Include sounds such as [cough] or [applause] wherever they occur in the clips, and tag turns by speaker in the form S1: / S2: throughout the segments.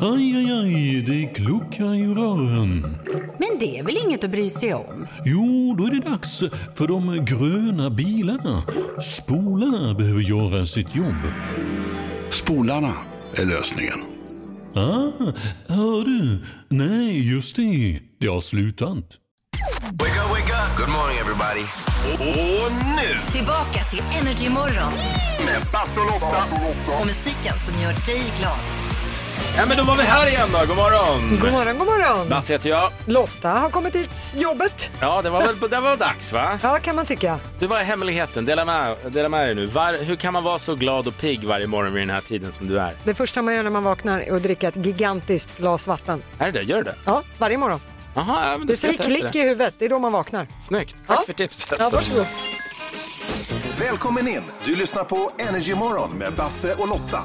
S1: Aj, aj, aj, det kluckar i rören.
S2: Men det är väl inget att bry sig om?
S1: Jo, då är det dags för de gröna bilarna. Spolarna behöver göra sitt jobb.
S3: Spolarna är lösningen.
S1: Ah, hör du? Nej, just det. Det har slutat.
S4: Wake up, wake up. Good morning everybody. Och, och nu
S5: Tillbaka till Energy Morgon
S4: med Basse och Lotta.
S5: och musiken som gör dig glad.
S6: Ja men då var vi här igen då, god morgon!
S7: God morgon, god morgon.
S6: Basse heter jag.
S7: Lotta har kommit till jobbet.
S6: Ja, det var väl det var dags va?
S7: Ja, kan man tycka.
S6: Du, vad är hemligheten? Dela med, dela med er nu. Var, hur kan man vara så glad och pigg varje morgon vid den här tiden som du är?
S7: Det första man gör när man vaknar är att dricka ett gigantiskt glas vatten.
S6: Är det det? Gör du det?
S7: Ja, varje morgon.
S6: Jaha, ja, men då
S7: Det
S6: ska jag
S7: säger
S6: ta efter
S7: klick
S6: det.
S7: i huvudet, det är då man vaknar.
S6: Snyggt, tack
S7: Ja.
S6: för tipset.
S7: Ja, varsågod.
S4: Välkommen in. Du lyssnar på Energy Morgon med Basse och Lotta.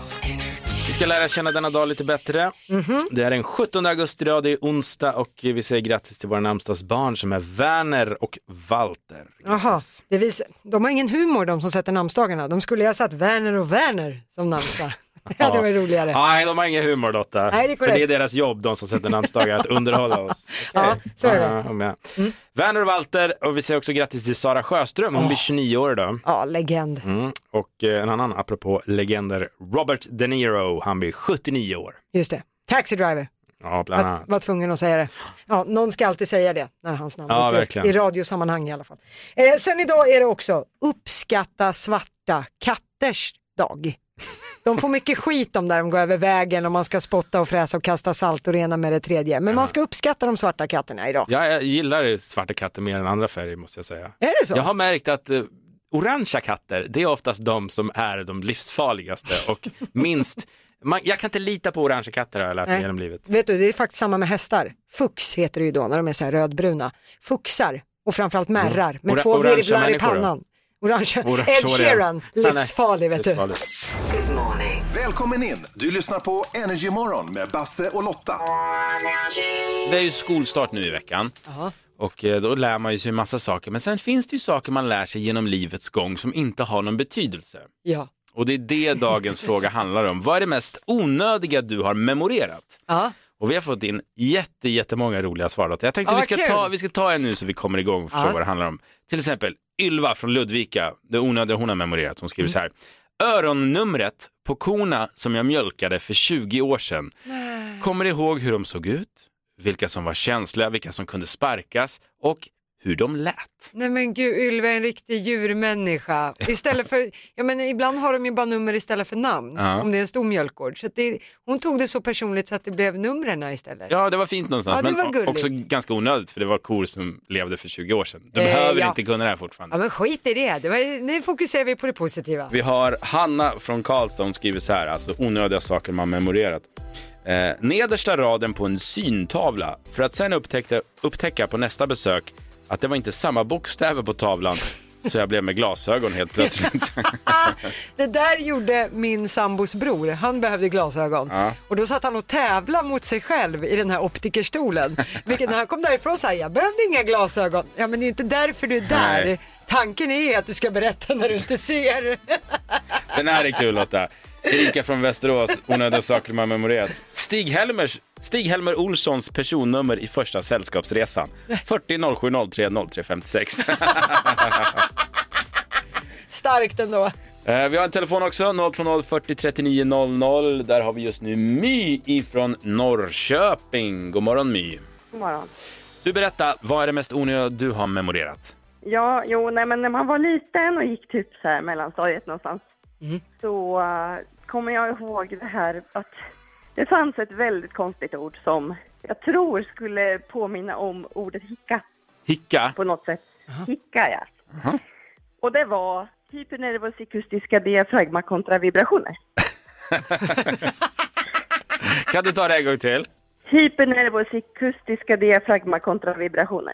S6: Vi ska lära känna denna dag lite bättre.
S7: Mhm.
S6: Det är den 17 augusti idag, det är onsdag och vi säger grattis till våra namnsdagsbarn som är Werner och Walter.
S7: Jaha, det visar. de har ingen humor de som sätter namnsdagarna. De skulle ju ha satt Werner och Werner som namnsdag. [laughs] Det hade varit roligare.
S6: Nej, de har ingen humor Lotta.
S7: Nej, det är
S6: För det är
S7: korrekt.
S6: deras jobb, de som sätter namnsdagar, att underhålla oss.
S7: [laughs] Ja, så är det. Mm.
S6: Ja, jag med. Werner och Walter, och vi säger också grattis till Sara Sjöström, hon blir 29 år idag.
S7: Ja, legend.
S6: Mm. Och eh, en annan, apropå legender, Robert De Niro, han blir 79 år.
S7: Just det. Taxi driver.
S6: Ja, bland
S7: Att,
S6: annat.
S7: var tvungen att säga det. Ja, någon ska alltid säga det när hans namn
S6: Ja,
S7: dyker upp.
S6: verkligen.
S7: I radiosammanhang i alla fall. Eh, sen idag är det också uppskatta svarta katters dag. De får mycket skit om där de går över vägen och man ska spotta och fräsa och kasta salt och det ena med det tredje. Men man ska uppskatta de svarta katterna idag.
S6: Ja, jag gillar svarta katter mer än andra färger måste jag säga.
S7: Är det så?
S6: Jag har märkt att eh, orangea katter, det är oftast de som är de livsfarligaste
S7: [laughs]
S6: och minst, man, jag kan inte lita på orangea katter har jag lärt mig
S7: Nej.
S6: genom livet.
S7: Eh, Vet du, det är faktiskt samma med hästar. Fux heter det ju då när de är så här rödbruna. Fuxar och framförallt märrar med
S6: Mm. Ora-
S7: två
S6: orangea
S7: virvlar i
S6: människor då?
S7: pannan. Orange.
S6: Orange
S7: Ed
S6: hår, ja.
S7: Sheeran,
S6: Nej, nej.
S7: livsfarlig vet du.
S6: Livsfarlig.
S4: Välkommen in. Du lyssnar på Energy Morgon med Basse och Lotta.
S6: Det är ju skolstart nu i veckan. Och eh, då lär man ju sig en massa saker. Men sen finns det ju saker man lär sig genom livets gång som inte har någon betydelse.
S7: Ja.
S6: Och det är det dagens [laughs] fråga handlar om. Vad är det mest onödiga du har memorerat?
S7: Ja.
S6: Och vi har fått in jätte, jättemånga roliga svar. Lotta. Jag tänkte
S7: Ja,
S6: vi,
S7: vad
S6: ska
S7: kul.
S6: ta, vi ska ta en nu så vi kommer igång och förstår
S7: Ja.
S6: vad det handlar om. Till exempel Ylva från Ludvika, det onödiga hon har memorerat. Hon
S7: Mm.
S6: skriver så här. Öronnumret på korna som jag mjölkade för 20 år sedan. Kommer ihåg hur de såg ut, vilka som var känsliga, vilka som kunde sparkas och hur de lät.
S7: Nej men gud, Ylva är en
S6: [laughs]
S7: riktig djurmänniska. Istället för, ja, men ibland har de ju bara nummer istället för namn,
S6: Ja.
S7: om det är en stor mjölkgård. Så att det, hon tog det så personligt så att det blev numren istället.
S6: Ja, det var fint någonstans,
S7: Ja, det var
S6: men
S7: gulligt.
S6: också ganska onödigt för det var kor som levde för 20 år sedan. Du
S7: Eh,
S6: behöver
S7: ja.
S6: inte kunna det här
S7: Ja
S6: fortfarande.
S7: men skit i det, det var, nu fokuserar vi på det positiva.
S6: Vi har Hanna från Karlstad, hon skriver så här, alltså onödiga saker man memorerat. Eh, nedersta raden på en syntavla för att sen upptäckte, upptäcka på nästa besök att det var inte samma bokstäver på tavlan så jag blev med glasögon helt plötsligt.
S7: [laughs] Det där gjorde min sambos bror, han behövde glasögon. Och då satt han och tävlade mot sig själv i den här
S6: [laughs]
S7: optikerstolen. Vilket när han kom därifrån sa han, jag behövde inga glasögon. Ja men det är inte därför du är där.
S6: Nej.
S7: Tanken är att du ska berätta när du inte ser. [laughs]
S6: Den här är kul Lotta. Erika från Västerås, onödiga saker man memorerat. Stig-Helmer Stig Helmer Olssons personnummer i första sällskapsresan. 40 07 03 03 56.
S7: Starkt ändå.
S6: Eh, Vi har en telefon också, 020 40 39 00. Där har vi just nu My ifrån Norrköping. God morgon My.
S8: God morgon.
S6: Du berätta, vad är det mest onödiga du har memorerat?
S8: Ja, jo, nej, men när man var liten och gick typ så här mellanstadiet någonstans så eh, kommer jag ihåg det här att det fanns ett väldigt konstigt ord som jag tror skulle påminna om ordet hicka
S6: Hicka?
S8: på något sätt. Hicka, ja. Och det var typ nervosikustiska diafragma kontra vibrationer.
S6: Kan du ta det en gång till?
S8: Hypernervosikustiska diafragma kontra vibrationer.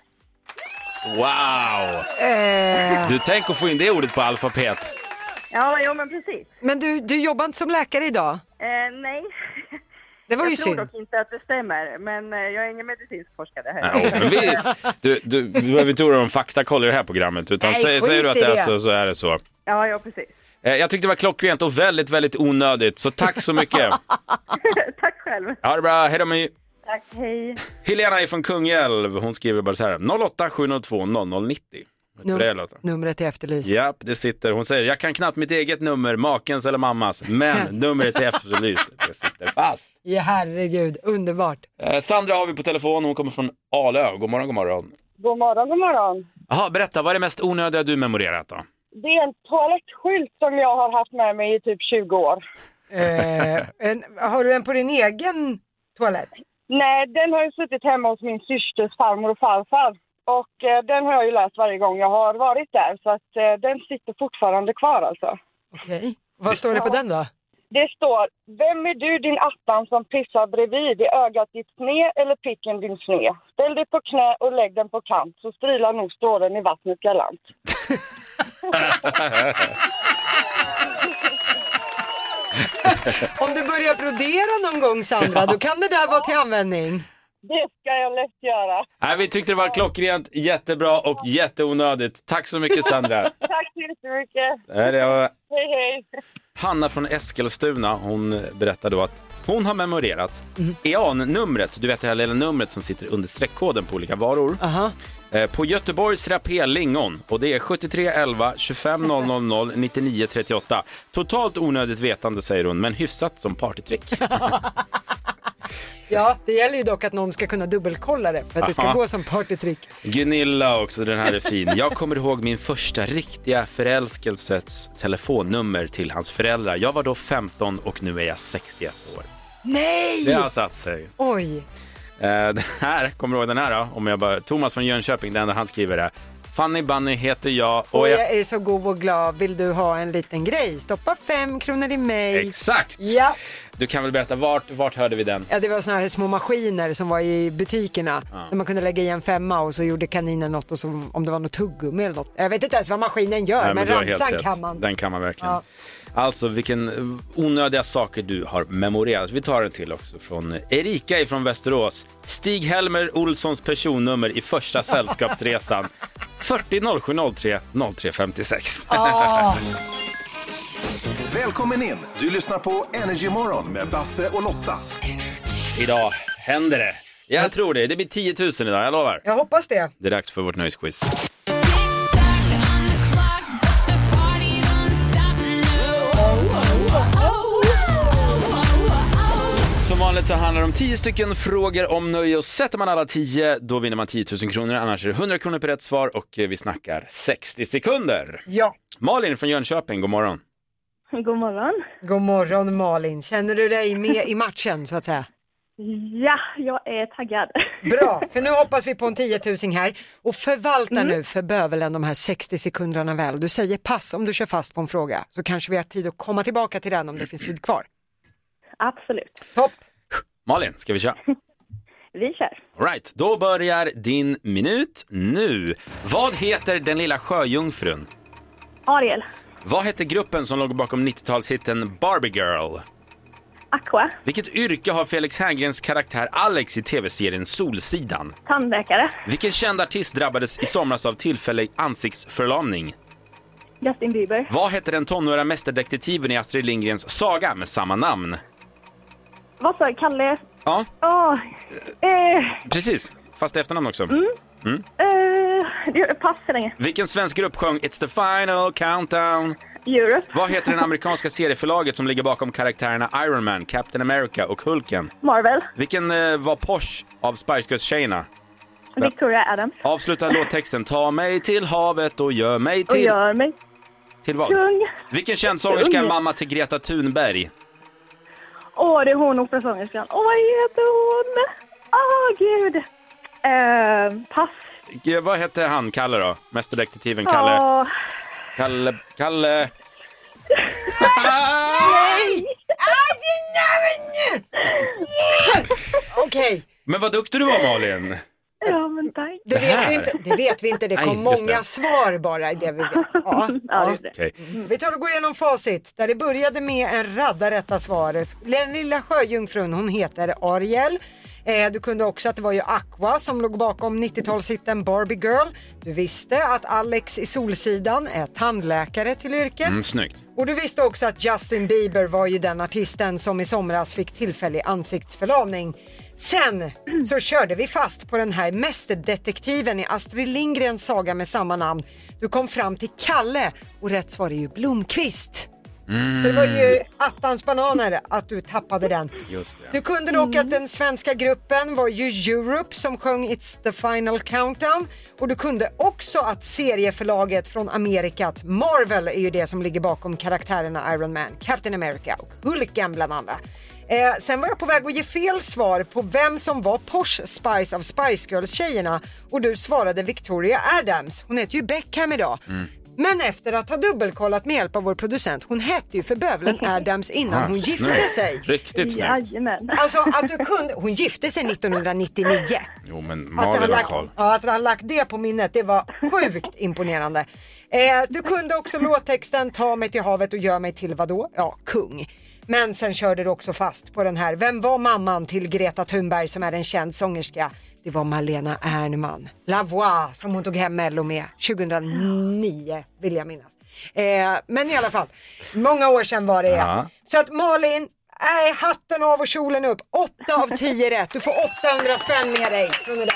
S6: Wow!
S7: Eh,
S6: Du, tänk att få in det ordet på alfabet.
S8: Ja, jo, men precis.
S7: Men du, du jobbar inte som läkare idag?
S8: Eh, nej,
S7: Det var ju
S8: jag tror
S7: synd.
S8: dock inte att det stämmer, men eh, jag är ingen medicinsk forskare här.
S6: Ja, men vi, du, du, du behöver inte oroa dig om faktakoll i det här programmet. Utan
S7: Nej,
S6: säger,
S7: skit
S6: säger du att
S7: i
S6: det är
S7: det.
S6: så, så är det så.
S8: [laughs] Ja, ja, precis.
S7: [laughs]
S6: Eh, Jag tyckte det var klockrent och väldigt, väldigt onödigt. Så tack så mycket.
S8: Tack själv. själv.
S6: Ha det bra, hej då My.
S8: Tack, hej.
S6: Helena är från Kungälv, hon skriver bara så här 08 702 0090. Vet du vad det är Lotta?
S7: Numret är efterlyst.
S6: Japp, det sitter. Hon säger, jag kan knappt mitt eget nummer, makens eller mammas, men numret är efterlyst. Det sitter fast.
S7: Ja, herregud, underbart.
S6: Eh, Sandra har vi på telefon, hon kommer från Alö. God morgon, god morgon.
S9: God morgon, god morgon.
S6: Jaha, berätta, vad är det mest onödiga du memorerat då?
S9: Det är en toalettskylt som jag har haft med mig i typ 20 år.
S7: Eh, en, har du en på din egen toalett?
S9: Nej, den har ju suttit hemma hos min systers farmor och farfar. Och eh, den har jag ju läst varje gång jag har varit där, så att eh, den sitter fortfarande kvar alltså.
S7: Okej. Vad står det på den då?
S9: Det står, vem är du din attan som pissar bredvid? Är ögat ditt sne eller picken din sne? Ställ dig på knä och lägg den på kant, så strilar nog strålen i vattnet galant.
S7: Om du börjar brodera någon gång Sandra, då kan det där vara till användning.
S9: Det ska jag lätt göra. [laughs]
S6: Nej, vi tyckte det var klockrent, jättebra och jätteonödigt. Tack så mycket Sandra.
S9: Tack så jättemycket.
S6: Nej, det var-
S9: Hej, hej.
S6: Hanna från Eskilstuna, hon berättar då att hon har memorerat EAN-numret, du vet det här lilla numret som sitter under streckkoden på olika varor.
S7: Aha.
S6: Eh, På Göteborgs Rapé Lingon och det är 73 11 25 000 99 38. Totalt onödigt vetande säger hon, men hyfsat som partytrick.
S7: Ja, det gäller ju dock att någon ska kunna dubbelkolla det för att det ska
S6: Aha.
S7: gå som partytrick.
S6: Gunilla också, den här är fin. Jag kommer ihåg min första riktiga förälskelses telefonnummer till hans föräldrar. Jag var då 15 och nu är jag 61 år.
S7: Nej!
S6: Det har satt sig.
S7: Oj,
S6: Eh, [laughs] Den här, kommer du ihåg den här då? Om jag bara, Thomas från Jönköping, den enda han skriver är Fanny Bunny heter jag och
S7: och
S6: jag...
S7: jag är så god och glad. Vill du ha en liten grej? Stoppa fem kronor i mig.
S6: Exakt!
S7: Ja.
S6: Du kan väl berätta, vart, vart hörde vi den?
S7: Ja, det var såna här små maskiner som var i butikerna. Där man kunde lägga i en femma och så gjorde kaninen något och så, om det var något tuggummi eller något. Jag vet inte ens vad maskinen gör,
S6: Nej,
S7: men,
S6: du har helt
S7: ramsan
S6: rätt.
S7: kan man.
S6: Den kan man verkligen.
S7: Ja.
S6: Alltså vilken eh, onödiga saker du har memorerat. Vi tar en till också från Erika ifrån Västerås. Stig-Helmer Olssons personnummer i
S7: [laughs]
S6: första sällskapsresan. 40 0703 0356.
S4: Välkommen in! Du lyssnar på Energy Morgon med Basse och Lotta.
S6: [laughs] Idag händer det. Jag tror det. Det blir 10 000 idag, jag lovar.
S7: Jag hoppas det.
S6: Det är dags för vårt nöjesquiz. Som vanligt så handlar det om 10 stycken frågor om nöje och sätter man alla 10 då vinner man 10 000 kronor. Annars är det 100 kronor per rätt svar och eh, vi snackar 60 sekunder.
S7: Ja.
S6: Malin från Jönköping, god morgon.
S8: God morgon.
S7: God morgon Malin. Känner du dig med i matchen så att säga?
S8: Ja, jag är taggad. [laughs]
S7: Bra, för nu hoppas vi på en 10 000 här. Och förvalta nu för bövelen de här 60 sekunderna väl. Du säger pass om du kör fast på en fråga så kanske vi har tid att komma tillbaka till den om det finns tid kvar.
S8: Absolut.
S7: Topp!
S6: Malin, ska vi köra?
S8: Vi kör.
S6: All right, då börjar din minut nu. Vad heter den lilla sjöjungfrun?
S8: Ariel,
S6: Vad hette gruppen som låg bakom 90-talshitten Barbie Girl?
S8: Aqua,
S6: Vilket yrke har Felix Herngrens karaktär Alex i tv-serien Solsidan?
S8: tandläkare,
S6: Vilken känd artist drabbades i somras av tillfällig ansiktsförlamning?
S8: Justin Bieber,
S6: Vad hette den tonåra mästerdetektiven i Astrid Lindgrens saga med samma namn?
S8: vad sa jag? Kalle?
S6: Ja,
S8: Åh, eh,
S6: precis. Fast efternamn också.
S8: eh, det- pass så länge.
S6: Vilken svensk grupp sjöng It's the final countdown?
S8: Europe,
S6: Vad heter den amerikanska serieförlaget som ligger bakom karaktärerna Iron Man, Captain America och Hulken?
S8: Marvel,
S6: Vilken eh, var Porsche av Spice Girls-tjejerna?
S8: Victoria Adams
S6: Avsluta låttexten Ta mig till havet och gör mig
S8: och
S6: till...
S8: gör mig
S6: Till vad?
S8: kung.
S6: Vilken känd sångerska är
S8: Ung.
S6: mamma till Greta Thunberg?
S8: Åh, det är hon operasångerskan. Åh, vad heter hon? Åh, gud. Eh, pass.
S6: G- Vad hette han, Kalle då? Mästerdetektiven Kalle?
S8: Åh,
S6: Kalle? Kalle?
S8: [laughs]
S7: Okej,
S6: Men vad duktig du var Malin!
S8: Ja, men tack.
S7: Det,
S6: Det
S7: vet
S6: här?
S7: vi inte. det vet vi inte, det kom
S6: Nej, just
S7: många
S6: det.
S7: svar bara i det vi vet. Ja.
S8: Ja, det.
S6: Okej.
S7: Mm, Vi tar och går igenom facit där det började med en radda rätta svar. Den lilla sjöjungfrun hon heter Ariel. Eh, du kunde också att det var ju Aqua som låg bakom 90-talshitten Barbie Girl. Du visste att Alex i Solsidan är tandläkare till yrket.
S6: Mm, snyggt.
S7: Och du visste också att Justin Bieber var ju den artisten som i somras fick tillfällig ansiktsförlamning. Sen så körde vi fast på den här mästerdetektiven i Astrid Lindgrens saga med samma namn. Du kom fram till Kalle och rätt svar är ju Blomkvist. Så det var ju attans bananer att du tappade den.
S6: Mm. Just det.
S7: Du kunde dock att den svenska gruppen var ju Europe som sjöng It's the final countdown och du kunde också att serieförlaget från Amerika, Marvel är ju det som ligger bakom karaktärerna Iron Man, Captain America och Hulken bland andra. Eh, sen var jag på väg att ge fel svar på vem som var Posh Spice av Spice Girls-tjejerna och du svarade Victoria Adams. Hon heter ju Beckham idag.
S6: Mm.
S7: Men efter att ha dubbelkollat med hjälp av vår producent, hon hette ju
S6: [laughs]
S7: för bövelen Adams innan
S6: Ah,
S7: hon gifte
S6: snyggt.
S7: sig.
S6: Riktigt snyggt.
S8: Jajamän.
S7: Alltså att du kunde, hon gifte sig 1999.
S6: Jo, men
S7: Att du, har
S6: Malin och
S7: lagt,
S6: Karl.
S7: ja, att du har lagt det på minnet, det var sjukt imponerande. Eh, du kunde också låttexten Ta mig till havet och gör mig till vadå? Ja, kung. Men sen körde du också fast på den här, vem var mamman till Greta Thunberg som är en känd sångerska? Det var Malena Ernman, La Voix, som hon tog hem Mello med 2009 vill jag minnas. Eh, men i alla fall, många år sedan var det.
S6: Ja.
S7: Så att Malin, nej hatten av och kjolen upp. 8 av 10 rätt. Du får 800 spänn med dig från idag.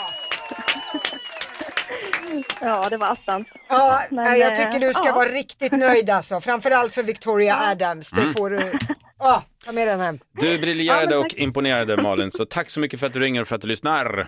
S8: [laughs] Ja, det var attans.
S7: Ja,
S8: Men,
S7: nej, jag
S8: eh,
S7: tycker du ska
S8: ja.
S7: vara riktigt nöjd alltså. Framförallt för Victoria Adams. Det får du. Ja, ta med den hem.
S6: Du briljerade
S8: Ja, men
S6: och
S8: tack.
S6: imponerade Malin, så tack så mycket för att du ringer och för att du lyssnar.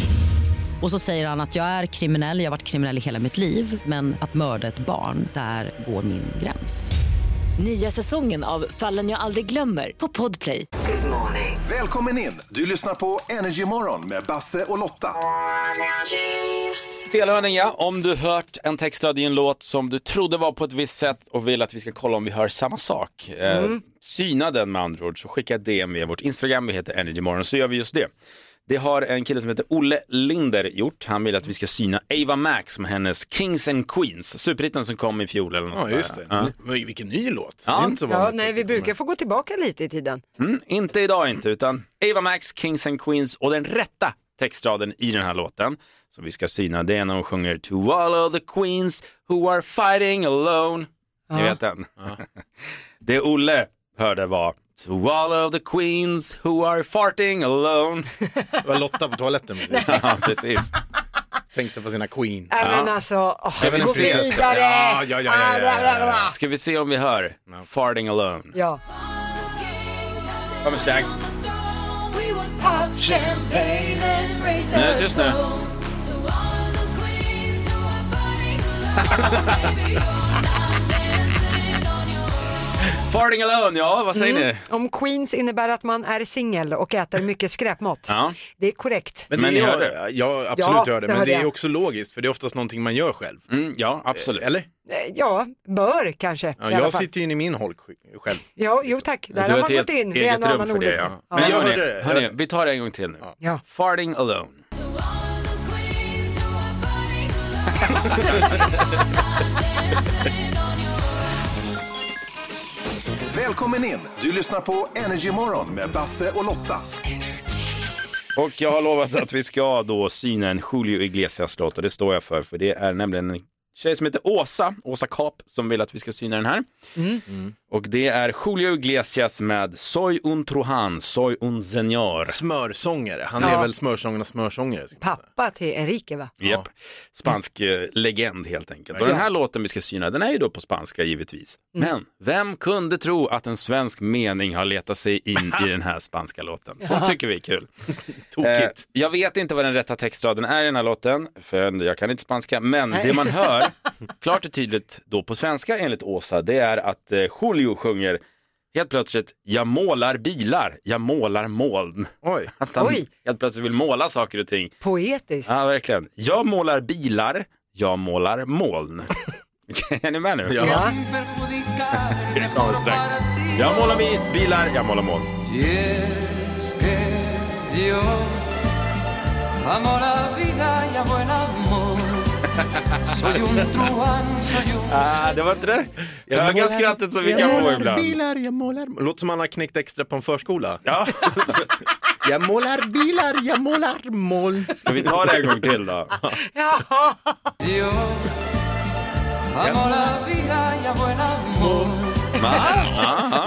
S10: Och så säger han att jag är kriminell, jag har varit kriminell i hela mitt liv men att mörda ett barn, där går min gräns.
S11: Nya säsongen av Fallen jag aldrig glömmer på Podplay.
S4: Välkommen in! Du lyssnar på Energy Morgon med Basse och Lotta.
S6: Felhörning ja, om du hört en textrad i en låt som du trodde var på ett visst sätt och vill att vi ska kolla om vi hör samma sak. Eh, syna den med andra ord, så skicka ett DM via vårt Instagram, vi heter Energymorgon, så gör vi just det. Det har en kille som heter Olle Linder gjort. Han vill att vi ska syna Ava Max med hennes Kings and Queens, superhitten som kom i fjol eller något sånt där. Ja.
S12: Men Vilken ny låt.
S6: Ja.
S12: Det är inte så
S7: Ja,
S12: vanligt
S7: nej,
S12: att
S7: vi
S12: det kommer.
S7: brukar få gå tillbaka lite i tiden.
S6: Mm, inte idag inte, utan Ava Max, Kings and Queens och den rätta textraden i den här låten som vi ska syna det är när hon sjunger To all of the queens who are fighting alone. Ni vet den. [laughs] Det Olle hörde var To all of the queens who are farting [laughs] alone.
S12: Det var Lotta på toaletten precis.
S6: ja, precis.
S12: Tänkte på sina Queen.
S7: Nej men alltså, åh,
S12: väl en
S7: gå
S12: prinsessa.
S7: vidare!
S12: Ja, ja, ja, ja, ja, ja, ja.
S6: Ska vi se om vi hör Farting alone.
S7: Ja.
S6: Kommer strax. Nu är det tyst nu. Farting alone, ja vad säger ni?
S7: Om Queens innebär att man är singel och äter mycket skräpmat.
S6: Ja.
S7: Det är korrekt.
S12: Men,
S6: Men
S12: det
S6: ni
S12: är-
S6: hörde det?
S12: Ja, absolut
S7: Ja,
S12: hörde.
S7: det
S12: Men
S7: hörde
S12: det är
S7: jag.
S12: också logiskt, för det är oftast någonting man gör själv.
S6: Mm, ja, absolut.
S12: Eller?
S7: Eh, Ja, bör kanske
S12: Ja,
S7: i alla
S12: jag
S7: fall.
S12: sitter ju inne i min holk själv.
S7: Ja, jo tack, där
S6: Du
S7: har
S6: har
S7: man
S6: ett helt
S7: gått in. Det är en
S6: eget rum för
S7: annan
S6: det.
S7: olycka.
S6: Ja.
S12: Ja.
S6: Men
S12: Jag
S6: hörni,
S12: hörde det.
S6: hörni, vi tar det en gång till nu.
S7: Ja.
S6: Farting alone.
S4: Välkommen in! Du lyssnar på Energy Morgon med Basse och Lotta.
S6: Och jag har lovat att vi ska då syna en Julio Iglesias-låt och det står jag för, för det är nämligen en tjej som heter Åsa, Åsa Kap, som vill att vi ska syna den här. Och det är Julio Iglesias med Soy un truhan, soy un señor.
S12: Smörsångare. Han
S7: Ja.
S12: är väl smörsångernas smörsångare. ska man säga.
S7: Pappa till Enrique va?
S6: Japp. Spansk eh, legend helt enkelt. Och den här låten vi ska syna, den är ju då på spanska givetvis. Men vem kunde tro att en svensk mening har letat sig in i den här spanska låten? Så tycker vi är kul. Eh,
S12: Tokigt.
S6: jag vet inte vad den rätta textraden är i den här låten, för jag kan inte spanska, men det man hör Klart och tydligt då på svenska enligt Åsa, det är att eh, Julio sjunger helt plötsligt, jag målar bilar, jag målar moln.
S12: Oj.
S6: Att han
S7: Oj.
S6: helt plötsligt vill måla saker och ting.
S7: Poetiskt.
S6: Ja, verkligen. Jag målar bilar, jag målar [laughs] moln. är ni med nu?
S12: Ja. Ja.
S6: Det kommer strax. Jag målar bi- bilar, jag målar moln. Ah, det var inte det höga skrattet som vi kan få ibland.
S12: Bilar, jag målar... Låter som han har knäckt extra på en förskola.
S6: Ja.
S12: [laughs] jag målar bilar, jag målar moln.
S6: Ska vi ta det en gång till då?
S7: Jaha.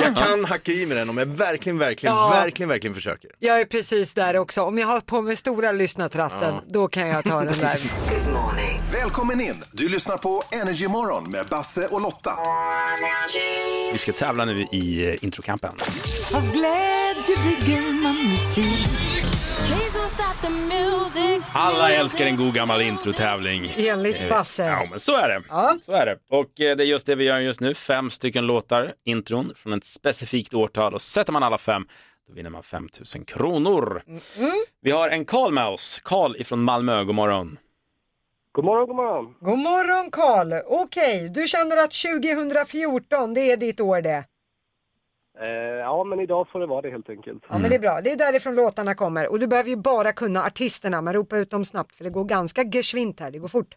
S12: Jag kan hacka i mig den om jag verkligen, verkligen,
S7: Ja.
S12: verkligen, verkligen försöker.
S7: Jag är precis där också. Om jag har på mig stora lyssnartratten,
S12: Ja.
S7: då kan jag ta den
S6: [laughs]
S7: där.
S4: Välkommen in! Du lyssnar på Energy Morgon med Basse och Lotta.
S6: [laughs] Vi ska tävla nu i eh, introkampen.
S13: Av glädje bygger man musik.
S6: Alla älskar en god gammal introtävling.
S7: Enligt
S6: Eh,
S7: Basse.
S6: Ja, men så är det. Så är det. Och eh, det är just det vi gör just nu. Fem stycken låtar, intron från ett specifikt årtal och sätter man alla fem då vinner man 5 000 kronor. Vi har en Karl med oss. Karl ifrån Malmö, god morgon.
S14: God morgon, god morgon.
S7: God morgon Karl. Okej, du känner att 2014, det är ditt år det.
S14: Eh, ja, men idag får det vara det helt enkelt.
S7: Ja men det är bra, det är därifrån låtarna kommer. Och du behöver ju bara kunna artisterna, men ropa ut dem snabbt för det går ganska geschwint här, det går fort.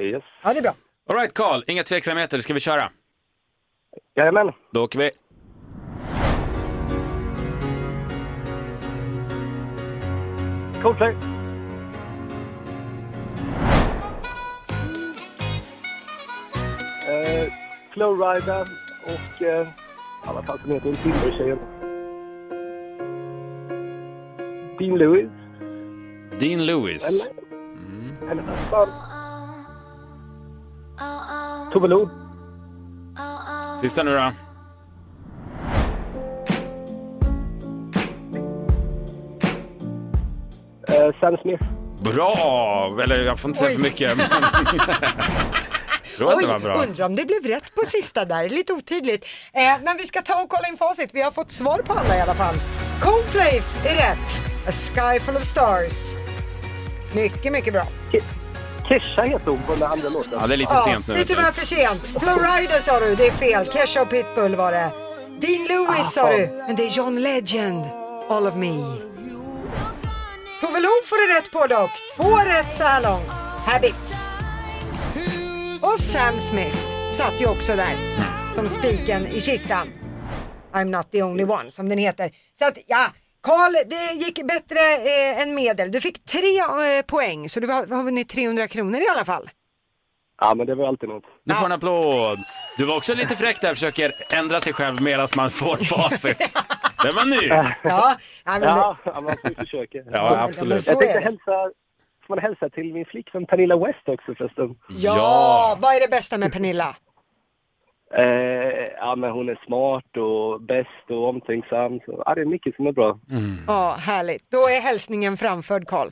S14: Yes.
S7: Ja det är bra.
S6: All right, Karl, inga tveksamheter, ska vi köra?
S14: Jajamän.
S6: Då åker vi.
S14: Coldplay. Eh, Flowrida och... Eh, ja, vad fan som heter hon? Timbertjejen. Dean Lewis.
S6: Dean Lewis.
S14: Eller vad fan? Tove Lo.
S6: Sista nu då.
S14: Eh, Sam Smith.
S6: Bra! Eller jag får inte säga för mycket. Men... jag tror att det var bra.
S7: undrar om det blev rätt på sista där, lite otydligt. Eh, men vi ska ta och kolla in facit, vi har fått svar på alla i alla fall. Coldplay är rätt. A Sky Full of Stars. Mycket, mycket bra.
S14: Kesha heter hon på den andra låten.
S6: Ja, det är lite sent nu.
S7: Det är tyvärr för sent. Flowrider sa du, det är fel. Kesha och Pitbull var det. Dean Lewis sa du, men det är John Legend. All of me. Tove Lo får du rätt på dock. Två rätt så här långt. Habits. Och Sam Smith satt ju också där som spiken i kistan. I'm not the only one som den heter. Så att ja, Karl, det gick bättre eh, än medel. Du fick tre eh, poäng så du har, har vunnit 300 kronor i alla fall.
S14: Ja, men det var alltid något.
S6: Du får en applåd. Du var också lite fräck där, försöker ändra sig själv medan man får facit. Den var ny.
S7: Ja, ja, men
S14: ja, man får försöka.
S8: [laughs]
S6: Ja, absolut.
S14: Jag tänkte hälsa, får man hälsa till min flickvän Pernilla West också förresten?
S7: Ja, vad är det bästa med Pernilla?
S14: Eh, ja, men hon är smart och bäst och omtänksam. Så, ja, det är mycket som är bra.
S6: Mm.
S7: Ja, härligt. Då är hälsningen framförd Karl.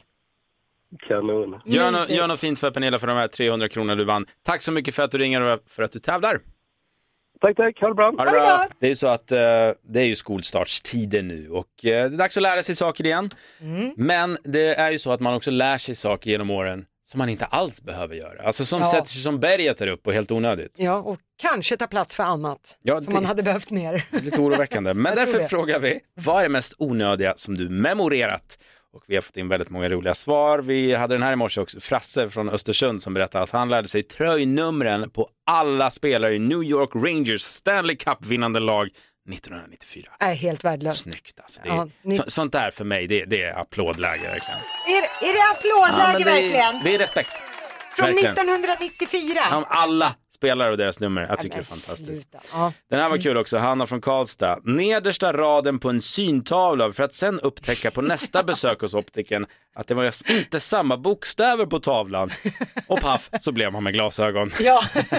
S14: Kanon.
S6: Gör, no, gör något fint för Pernilla för de här 300 kronorna du vann. Tack så mycket för att du ringer och för att du tävlar.
S14: Tack, tack. Ha det bra.
S6: Ha det, bra. det är ju så att eh, det är ju skolstartstider nu och eh, det är dags att lära sig saker igen.
S7: Mm.
S6: Men det är ju så att man också lär sig saker genom åren som man inte alls behöver göra. Alltså som
S7: Ja.
S6: sätter sig som berget där uppe och helt onödigt.
S7: Ja, och kanske ta plats för annat
S6: Ja,
S7: som
S6: det-
S7: man hade behövt mer. [laughs]
S6: Lite oroväckande. Men
S7: Jag tror
S6: därför
S7: det.
S6: frågar vi, vad är det mest onödiga som du memorerat? Och vi har fått in väldigt många roliga svar. Vi hade den här i morse också, Frasse från Östersund som berättade att han lärde sig tröjnumren på alla spelare i New York Rangers Stanley Cup-vinnande lag 1994.
S7: Är helt värdelöst.
S6: Snyggt alltså. Det är,
S7: Ja, ni-
S6: så, sånt där för mig, det, det är applådläge verkligen.
S7: Är, är det applådläge
S6: Ja, men det,
S7: verkligen?
S6: är, det är respekt.
S7: Från
S6: verkligen.
S7: 1994?
S6: Om alla spelare och deras nummer, jag tycker det är fantastiskt.
S7: Ja.
S6: Den här var kul också, Hanna från Karlstad. Nedersta raden på en syntavla för att sen upptäcka på [laughs] nästa besök hos optiken att det var inte samma bokstäver på tavlan. Och paff så blev man med glasögon.
S7: ja, [laughs]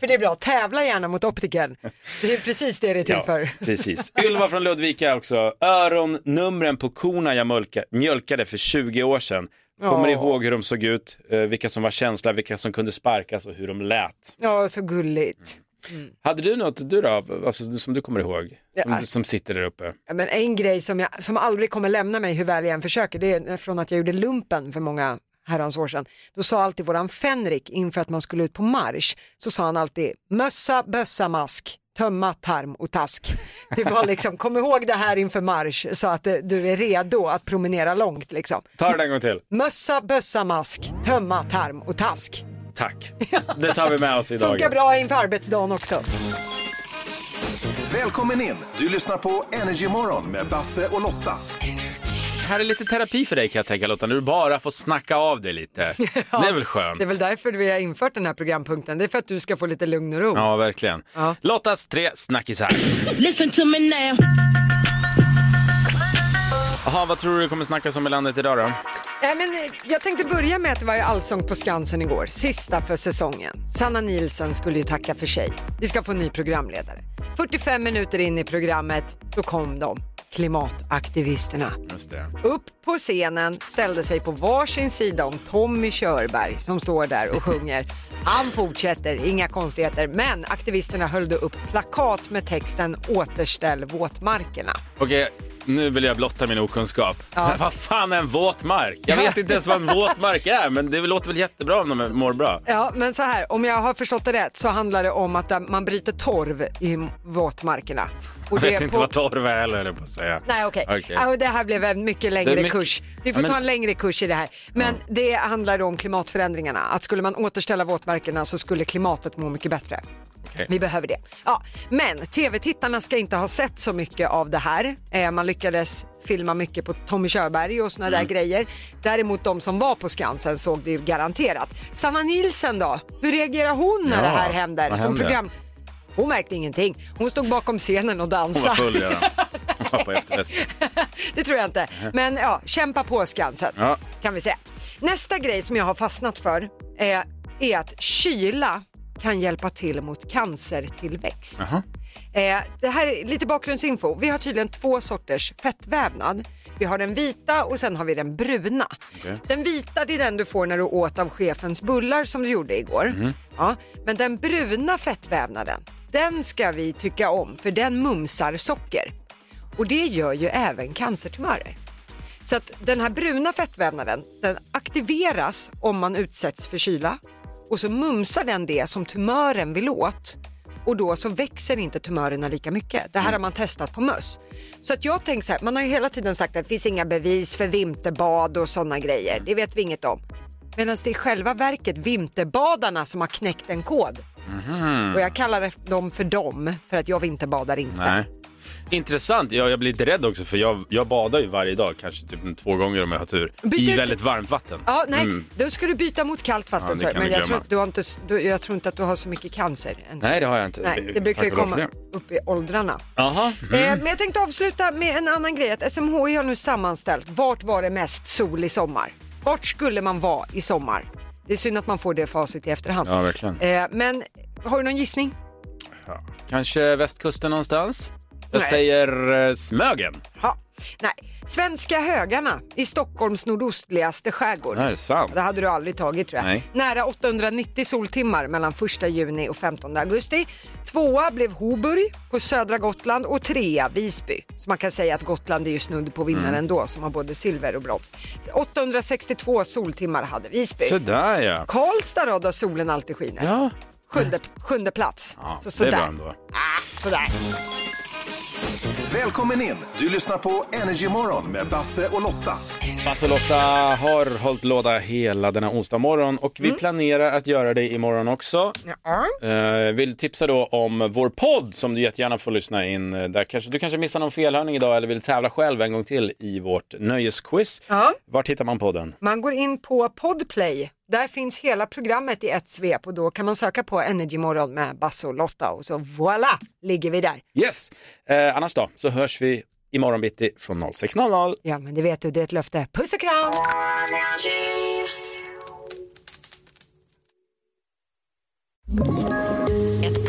S7: för det är bra. Tävla gärna mot optiken. Det är precis det det är till för. [laughs]
S6: precis. Ylva från Ludvika också. Öronnumren på korna jag mölka, mjölkade för 20 år sedan Kommer ihåg hur de såg ut, eh, vilka som var känsliga, vilka som kunde sparkas och hur de lät.
S7: Ja, så gulligt. Mm.
S6: Hade du något du då, alltså, som du kommer ihåg, som,
S7: Ja.
S6: som sitter där uppe?
S7: Ja, men en grej som, jag, som aldrig kommer lämna mig hur väl jag än försöker, det är från att jag gjorde lumpen för många herrans år sedan. Då sa alltid våran Fenrik inför att man skulle ut på marsch, så sa han alltid mössa, bössa, mask, tömma, tarm och task. Det var liksom, [laughs] kom ihåg det här inför marsch så att eh, du är redo att promenera långt liksom.
S6: Ta det en gång till.
S7: Mössa, bössa, mask, tömma, tarm och task.
S6: Tack. [laughs] Det tar vi med oss idag.
S7: Funkar bra inför arbetsdagen också.
S4: Välkommen in! Du lyssnar på Energymorgon med Basse och Lotta.
S6: Det här är lite terapi för dig kan jag tänka Lotta, när du bara får snacka av dig
S7: [laughs]
S6: lite. Det är väl skönt?
S7: Det är väl därför vi har infört den här programpunkten, det är för att du ska få lite lugn och ro.
S6: Ja, verkligen. Lottas tre snackisar.
S13: Listen to me now.
S6: Jaha, vad tror du det kommer snackas om i landet idag då?
S7: Nej, men eh, jag tänkte börja med att det var ju Allsång på Skansen igår, sista för säsongen. Sanna Nielsen skulle ju tacka för sig. Vi ska få en ny programledare. 45 minuter in i programmet, då kom de, klimataktivisterna.
S6: Just det.
S7: Upp på scenen ställde sig på varsin sida om Tommy Körberg som står där och sjunger. Han fortsätter, inga konstigheter, men aktivisterna höll då upp plakat med texten Återställ våtmarkerna.
S6: Okej, nu vill jag blotta min okunskap. Men vad fan är en våtmark? Jag vet inte ens vad en våtmark är, men det låter väl jättebra om de mår bra.
S7: Ja, men så här, om jag har förstått det rätt så handlar det om att eh, man bryter torv i våtmarkerna.
S6: Jag
S7: det
S6: vet inte
S7: på-
S6: vad torv är heller, höll jag på att säga.
S7: Nej okej,
S6: Okej.
S7: Ja, och det här blev en mycket längre
S6: Det är mycket-
S7: kurs. Vi
S6: Ja,
S7: får
S6: men-
S7: ta en längre kurs i det här. Men det handlar då om klimatförändringarna, att skulle man återställa våtmarkerna så skulle klimatet må mycket bättre.
S6: Okej.
S7: Vi behöver det. Ja, men tv-tittarna ska inte ha sett så mycket av det här. Eh, man lyckades filma mycket på Tommy Körberg och såna
S6: Mm.
S7: där grejer. Däremot de som var på Skansen såg det ju garanterat. Sanna Nielsen då? Hur reagerar hon när
S6: Ja,
S7: det här händer?
S6: vad
S7: Som
S6: händer?
S7: program... Hon märkte ingenting. Hon stod bakom scenen och
S6: Hon
S7: dansade.
S6: var full redan. Hon var på efterfest.
S7: [laughs] Det tror jag inte. Men ja, kämpa på Skansen
S6: Mm. Ja.
S7: kan vi säga. Nästa grej som jag har fastnat för är, är att kyla kan hjälpa till mot cancertillväxt.
S6: Jaha.
S7: Eh, det här är lite bakgrundsinfo. Vi har tydligen två sorters fettvävnad. Vi har den vita och sen har vi den bruna.
S13: Okej.
S7: Den vita det är den du får när du åt av chefens bullar som du gjorde igår.
S13: Mm.
S7: Ja, men den bruna fettvävnaden, den ska vi tycka om för den mumsar socker. Och det gör ju även cancertumörer. Så att den här bruna fettvävnaden, den aktiveras om man utsätts för kyla och så mumsar den det som tumören vill åt och då så växer inte tumörerna lika mycket.
S6: Mm.
S7: Det här har man testat på möss. Så att jag tänker så här, man har ju hela tiden sagt att det finns inga bevis för vinterbad och sådana
S6: Mm.
S7: grejer. Det vet vi inget om. Medan det är i själva verket vinterbadarna som har knäckt en kod.
S6: Mhm.
S7: Och jag kallar dem för dem för att jag vinterbadar inte.
S6: Nej. Intressant. Jag, jag blir lite rädd också för jag, jag badar ju varje dag, kanske typ två gånger om jag har tur,
S7: Byter
S6: i
S7: ut-
S6: väldigt varmt vatten.
S7: Ja, nej,
S6: Mm.
S7: då ska du byta mot kallt
S6: Ja,
S7: vatten.
S6: det
S7: sa jag.
S6: kan
S7: men
S6: vi
S7: jag tror,
S6: glömma.
S7: att du har inte, s- du, jag tror inte att du har så mycket cancer. Än.
S6: Nej, det har jag inte.
S7: Nej, det brukar
S6: Tack
S7: ju
S6: och lov
S7: komma
S6: för det.
S7: upp i åldrarna.
S6: Jaha.
S7: Eh,
S6: Mm.
S7: men jag tänkte avsluta med en annan grej. Att SMHI har nu sammanställt vart var det mest sol i sommar? Vart skulle man vara i sommar? Det är synd att man får det facit i efterhand.
S6: Ja, verkligen.
S7: Eh, men har du någon gissning?
S6: Kanske västkusten någonstans? Jag
S7: Nej.
S6: säger eh, Smögen.
S7: Ja. Nej. Svenska högarna i Stockholms nordostligaste skärgård.
S6: Det här är sant.
S7: Det hade du aldrig tagit tror jag.
S6: Nej.
S7: Nära 890 soltimmar mellan 1 juni och 15 augusti. Tvåa blev Hoburg på södra Gotland och trea Visby. Så man kan säga att Gotland är ju snudd på vinnaren
S6: Mm.
S7: då som har både silver och brons. 862 soltimmar hade Visby.
S6: Sådär ja.
S7: Karlstad då, där solen alltid skiner.
S6: Ja.
S7: Sjunde, sjunde plats.
S6: ja det
S7: så,
S6: är
S7: sådär.
S6: bra ändå.
S7: sådär.
S4: Välkommen in! Du lyssnar på Energymorgon med Basse och Lotta.
S6: Basse och Lotta har hållit låda hela denna onsdag morgon och
S7: Mm.
S6: vi planerar att göra det imorgon också. Eh, vill tipsa då om vår podd som du jättegärna får lyssna in. eh, Där kanske, du kanske missar någon felhörning idag eller vill tävla själv en gång till i vårt nöjesquiz.
S7: Ja.
S6: Vart hittar man podden?
S7: Man går in på Podplay. Där finns hela programmet i ett svep och då kan man söka på Energymorgon med Basse och Lotta och så voilà ligger vi där.
S6: Yes! Eh, annars då, så hörs vi imorgon bitti från 06.00.
S7: Ja men det vet du, det är ett löfte. Puss och kram!
S11: Ett poddtips